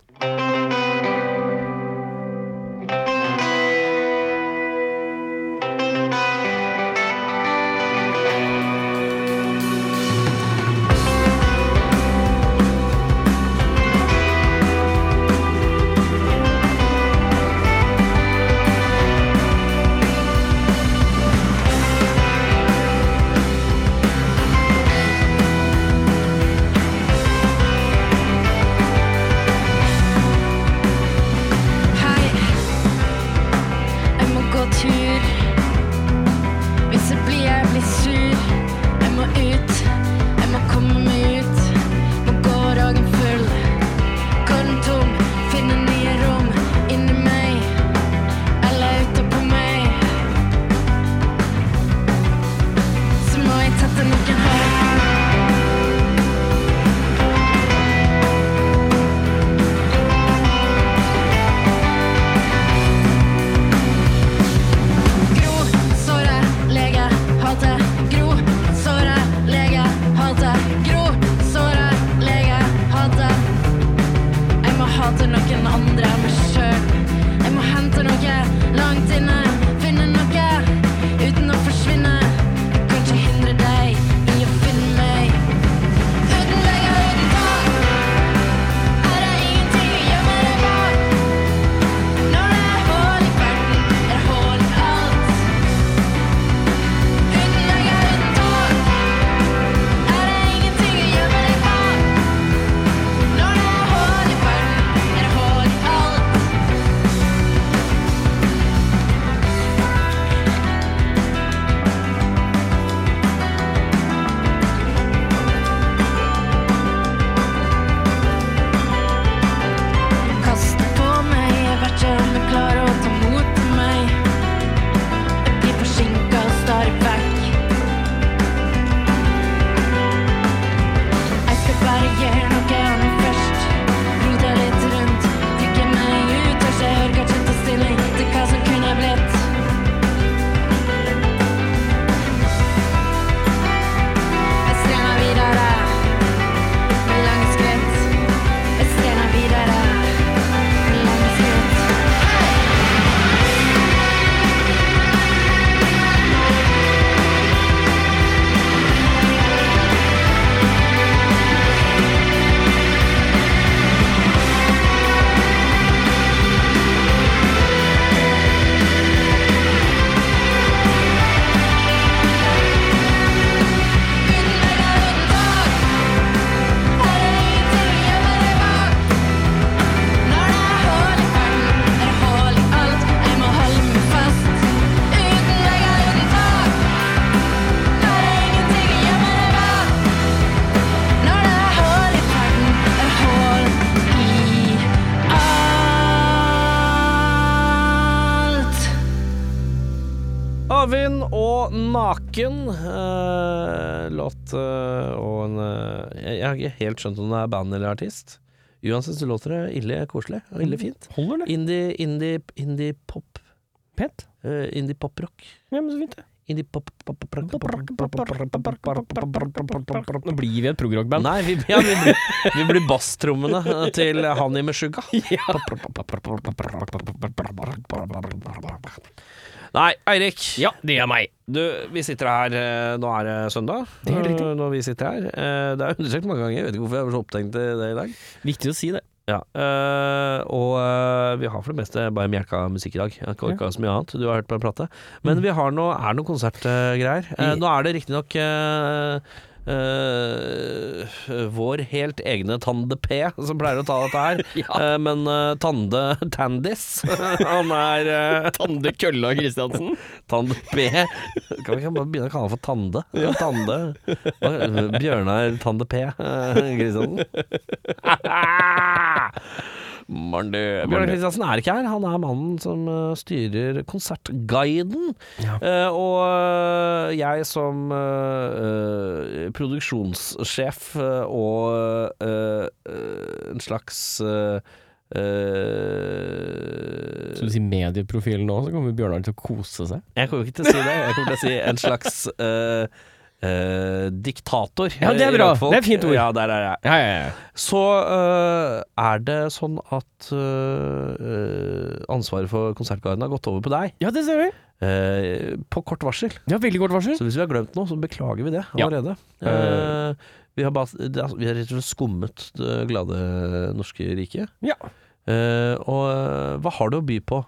og naken eh, låt eh, og en eh, Jeg jeg har ikke helt skjønt om det er band eller artist. Uansett så låter det ille koselig og ille fint.
Holder det?
Indie, indie, indie pop.
Pent?
eh, indie poprock.
Ja, men så fint, det.
Indie pop, pop, pop, pop, pop, pop, pop, pop, pop.
Nå blir vi et progrockband.
Nei, vi, ja, vi blir, vi blir basstrommene eh, til Hani Meshuggah. Nei, Eirik.
Ja, det er meg.
Du, vi sitter her eh, Nå er det søndag.
Det er helt riktig.
eh, Når vi sitter her. Eh, Det er undersøkt mange ganger. Jeg vet ikke hvorfor jeg var så opptenkt i det i dag.
Viktig å si det.
Ja, eh, og eh, vi har for det meste bare mjelka musikk i dag. Jeg har ikke så mye annet. Du har hørt på en plate. Men vi har noe, er noen konsertgreier. Eh, nå er det riktignok uh, vår helt egne Tande P som pleier å ta dette her. Eh, men eh, Tande Tandis, han er eh,
Tande Kølla Kristiansen.
Tande P. Kan vi ikke bare begynne å kalle han for Tande? Tande. Hva- Bjørnar Tande P. eh, Kristiansen. Marne. Bjørnar Kristiansen er ikke her. Han er mannen som eh, styrer konsertguiden.
Ja.
Eh, og eh, jeg som eh, eh, produksjonssjef eh, og eh, eh, en slags eh, eh,
Skal du si medieprofilen nå, så kommer Bjørnar til å kose seg.
jeg kommer ikke til å si det. Jeg kommer til å si en slags eh, eh, diktator. eh,
Ja, det er
i
bra.
hvert fall.
Det er et fint ord.
Ja, der er jeg.
Ja, ja, ja.
Så eh, er det sånn at eh, eh, ansvaret for Konsertguiden har gått over på deg.
ja det ser vi.
eh, på kort varsel.
Ja, veldig kort varsel.
Så hvis vi har glemt noe, så beklager vi det
Ja.
allerede. Eh, vi har, bare, det er- altså, vi har rett og slett skummet det glade norske riket.
Ja.
Eh, og eh, hva har du å by på?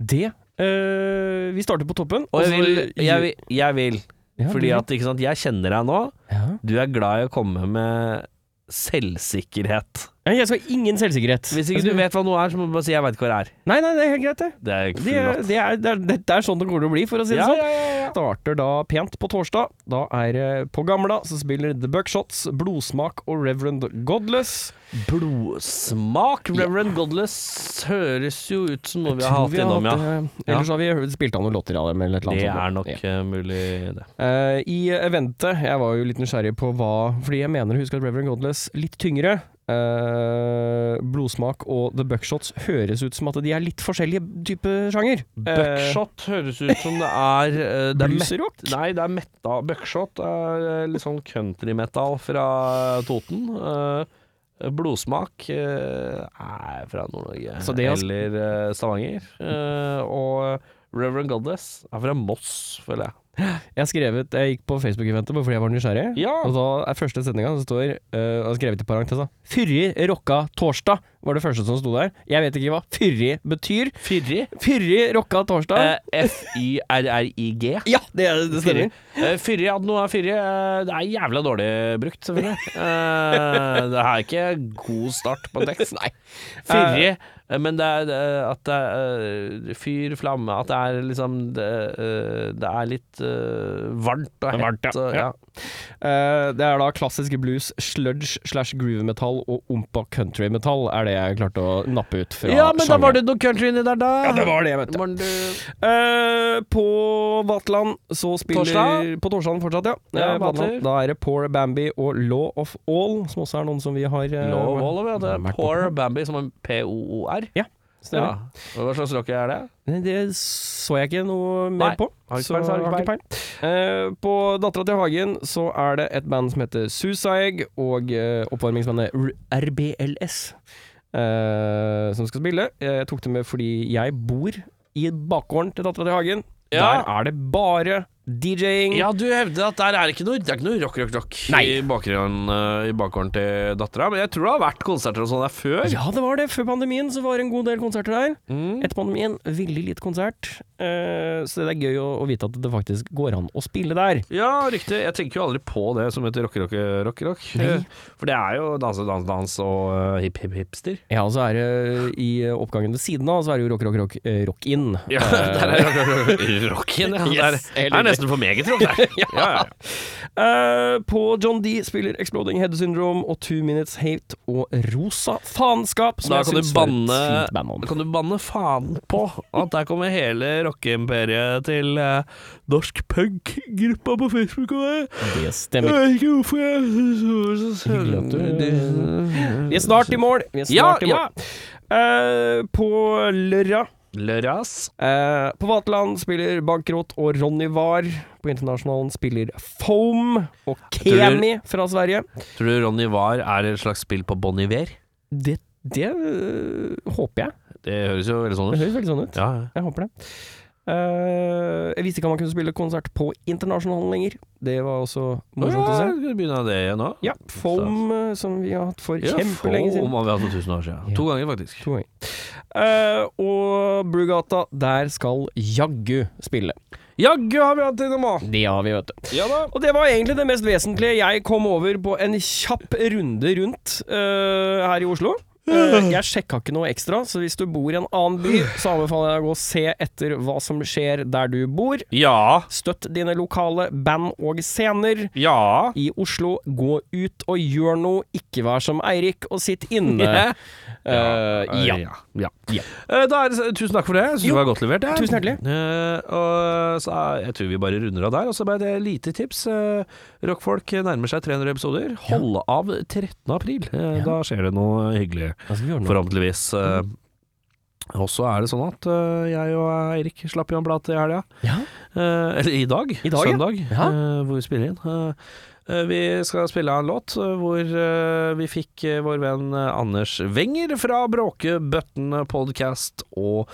Det eh, Vi starter på toppen.
Og
og
jeg
så-
vil, jeg vil, jeg vil
Ja,
fordi
du-
at ikke sant, jeg kjenner deg nå.
ja.
Du er glad i å komme med selvsikkerhet.
Ja, Jeg skal ha ingen selvsikkerhet. Altså,
Hvis ikke du vet hva noe er, så må du bare si 'jeg veit ikke hva det er'.
Nei, nei, det er helt greit, det.
Det er
Det er, det er, det er, dette er sånn det kommer til å bli, for å si
Ja,
det sånn. Starter da pent på torsdag. Da er det på Gamla, så spiller The Buckshots, Blodsmak og Reverend Godless.
Blodsmak. Reverend Godless høres jo ut som noe vi har
Tror
hatt innom, ja.
hatt, eh, Ellers har vi hørt- spilt av noen låter av dem, eller et eller annet.
Det
sånt.
er nok
Ja.
eh, mulig, det.
Eh, I eventet, jeg var jo litt nysgjerrig på hva Fordi jeg mener å huske at Reverend Godless litt tyngre. Eh, blodsmak og The Buckshots høres ut som at de er litt forskjellige type sjanger. Eh,
Buckshot høres ut som det er eh, det er met-
Bluesrock?
Nei, det er metta. Buckshot er eh, litt sånn countrymetal fra Toten. Eh, blodsmak eh, er fra Nord-Norge
Så det er-
eller eh, Stavanger. Eh, og Reverend Goddess er fra Moss, føler jeg.
Jeg har skrevet, jeg gikk på Facebook-eventet bare fordi jeg var nysgjerrig.
Ja.
Og da er første sendinga som står eh, Jeg har skrevet i parentes da. Fyrri rocka torsdag var det første som sto der. Jeg vet ikke hva fyrri betyr.
Fyrri.
Fyrri rocka torsdag.
Eh, F-y-r-r-i-g.
ja, det, det
Fyrri.
stemmer.
Eh, Fyrri, at noe er fyrri, eh, det er jævla dårlig brukt, selvfølgelig. Eh, Det er ikke god start på en tekst. Nei. Fyrri, eh, men det er eh, at det er eh, fyr, flamme At det er liksom Det, eh, det er litt eh, varmt og
Varmt, ja.
hett. og- Ja.
Eh, det er da klassisk blues, sludge slash groove-metall og ompa country-metall er det jeg klarte å nappe ut fra
ja, men da var
sjangeren.
det noe country inni der, da.
Ja, det var det, vet du.
Morn, du.
Eh, på Vatland så spiller
Torsdag?
På torsdagen fortsatt, ja.
Ja,
Eh, Vatland.
Vatler.
Da er det Poor Bambi og Law of All, som også er noen som vi har eh,
Lov og lov, ja. Det
vært
er
på.
Poor Bambi, som en P-O-O-R.
Stemmer.
Ja. Hva slags rock er det?
Nei, Det så jeg ikke noe
Nei,
mer på.
har ikke
så
peil, så har ikke peil.
Eh, på Dattera til Hagen så er det et band som heter Suicide, og eh, oppvarmingsbandet R- RBLS eh, som skal spille. Jeg tok det med fordi jeg bor i bakgården til Dattera til Hagen.
Ja.
Der er det bare DJ-ing.
Ja, du hevder at der er ikke noe, det er ikke noe rock, rock, rock
Mm. Nei.
i bakgrunnen eh, i bakgården til dattera. Men jeg tror det har vært konserter og sånn der før.
Ja, det var det. Før pandemien så var det en god del konserter der.
Mm.
Etter pandemien veldig lite konsert, eh, så det er gøy å, å vite at det faktisk går an å spille der.
Ja, riktig. Jeg tenker jo aldri på det som heter rock, rock, rock, rock.
Nei.
For det er jo danse, dans, dans og eh, hip, hip, hipster.
Ja, og så er det i eh, oppgangen ved siden av, så er det jo rock, rock, rock, eh, rock in.
Ja, der er rock, rock, rock. Rocken, ja.
Yes,
der,
helt
det er nesten for meget, Trond. det. Ja, ja.
Eh, på John D spiller Exploding Head Syndrome og Two Minutes Hate og Rosa Faenskap, som
Da
jeg
kan du
syns var et
banne
fint band om.
Da kan du banne faen på at der kommer hele rockeemperiet til eh, norsk punk-gruppa på Facebook. Og det.
Det
jeg
stemmer.
vet ikke hvorfor jeg så- så- så-
Hyggelig at du-
Det-
Vi er snart i mål. Vi er
Ja,
snart i mål. Eh, på lørdag
Løras.
eh, På Vaterland spiller Bankrot og Ronny Var. På Internasjonalen spiller Foam og
tror du-
Kemi fra Sverige.
Tror du Ronny Var er et slags spill på Bon Iver?
Det, det øh, håper jeg.
Det høres jo veldig sånn
Det
ut.
høres veldig sånn ut.
Ja, ja.
Jeg håper det. Eh, jeg visste ikke at man kunne spille konsert på internasjonalen lenger. Det var også morsomt å
ja,
se.
skal vi sånn begynne av det igjen nå?
Ja, Foam, eh, som vi har hatt for kjempelenge
få
siden.
Om vi har hatt for 1000 år siden.
Ja.
To ganger, faktisk.
To ganger. Eh, og Brugata, der skal jaggu spille.
Jaggu har vi hatt det nå!
Det har vi, vet du.
Ja da.
Og det var egentlig det mest vesentlige jeg kom over på en kjapp runde rundt eh, her i Oslo. Eh, jeg sjekka ikke noe ekstra, så hvis du bor i en annen by, så anbefaler jeg deg å gå og se etter hva som skjer der du bor.
Ja.
Støtt dine lokale band og scener.
Ja.
I Oslo, gå ut og gjør noe, ikke vær som Eirik og sitt inne. Eh, ja.
ja. ja. Eh, Da er det, tusen takk for det. Jeg synes
Jo.
det var godt levert. jeg.
Tusen hjertelig.
Eh, og så er, jeg tror vi bare runder av der. Og så bare det lite tips. Eh, rockfolk nærmer seg 300 episoder. Hold av 13. april. Eh,
Ja.
Da skjer det noe hyggelig,
Da skal vi gjøre noe. Mm.
forhåpentligvis. Eh, og så er det sånn at eh, jeg og Eirik slapp jo en plate i helga.
Ja.
Eh, eller i dag,
I dag, ja.
søndag,
Ja.
eh, hvor vi spiller inn. Eh, eh, vi skal spille av en låt eh, hvor eh, vi fikk eh, vår venn eh, Anders Wenger fra Bråke Bøtten Podcast og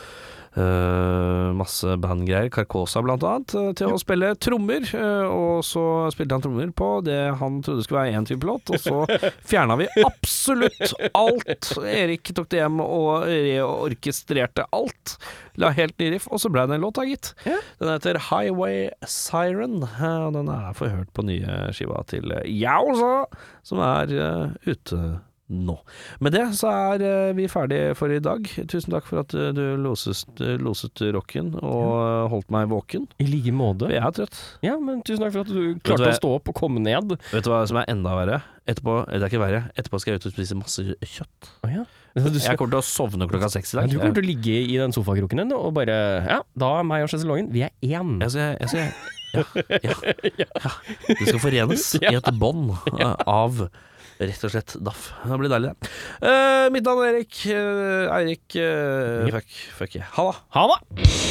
eh, masse bandgreier, Carcosa blant annet, eh, til å spille trommer. eh, og så spilte han trommer på det han trodde skulle være én type låt, og så fjerna vi absolutt alt. Erik tok det hjem og reorkestrerte alt. La helt ny riff, og så ble det en låt, da, gitt. Den heter Highway Siren, eh, og den er forhørt på nye skiva til eh, Jausa, som er eh, ute nå. Med det så er eh, vi ferdige for i dag. Tusen takk for at eh, du loses, eh, loset rocken og eh, holdt meg våken.
I like måte.
Jeg er trøtt.
Ja, men tusen takk for at du
Vet du
klarte
hva
å
jeg-
stå opp og komme ned.
Vet du hva som er enda verre? Etterpå, det er ikke verre, etterpå skal jeg ut og spise masse kjøtt.
Du,
Jeg kommer til å sovne klokka seks i
ja,
dag.
du kommer til å ligge i den sofakroken din og bare Ja, da er meg og sjeselongen, vi er én.
Jeg skal, jeg skal, ja, ja, ja. Det skal forenes i et bånd eh, av rett og slett DAF. Det blir deilig, det. Eh, mitt navn er Erik. Eh, Eirik eh, Fuck, fuck jeg. Ha det.
Ha det!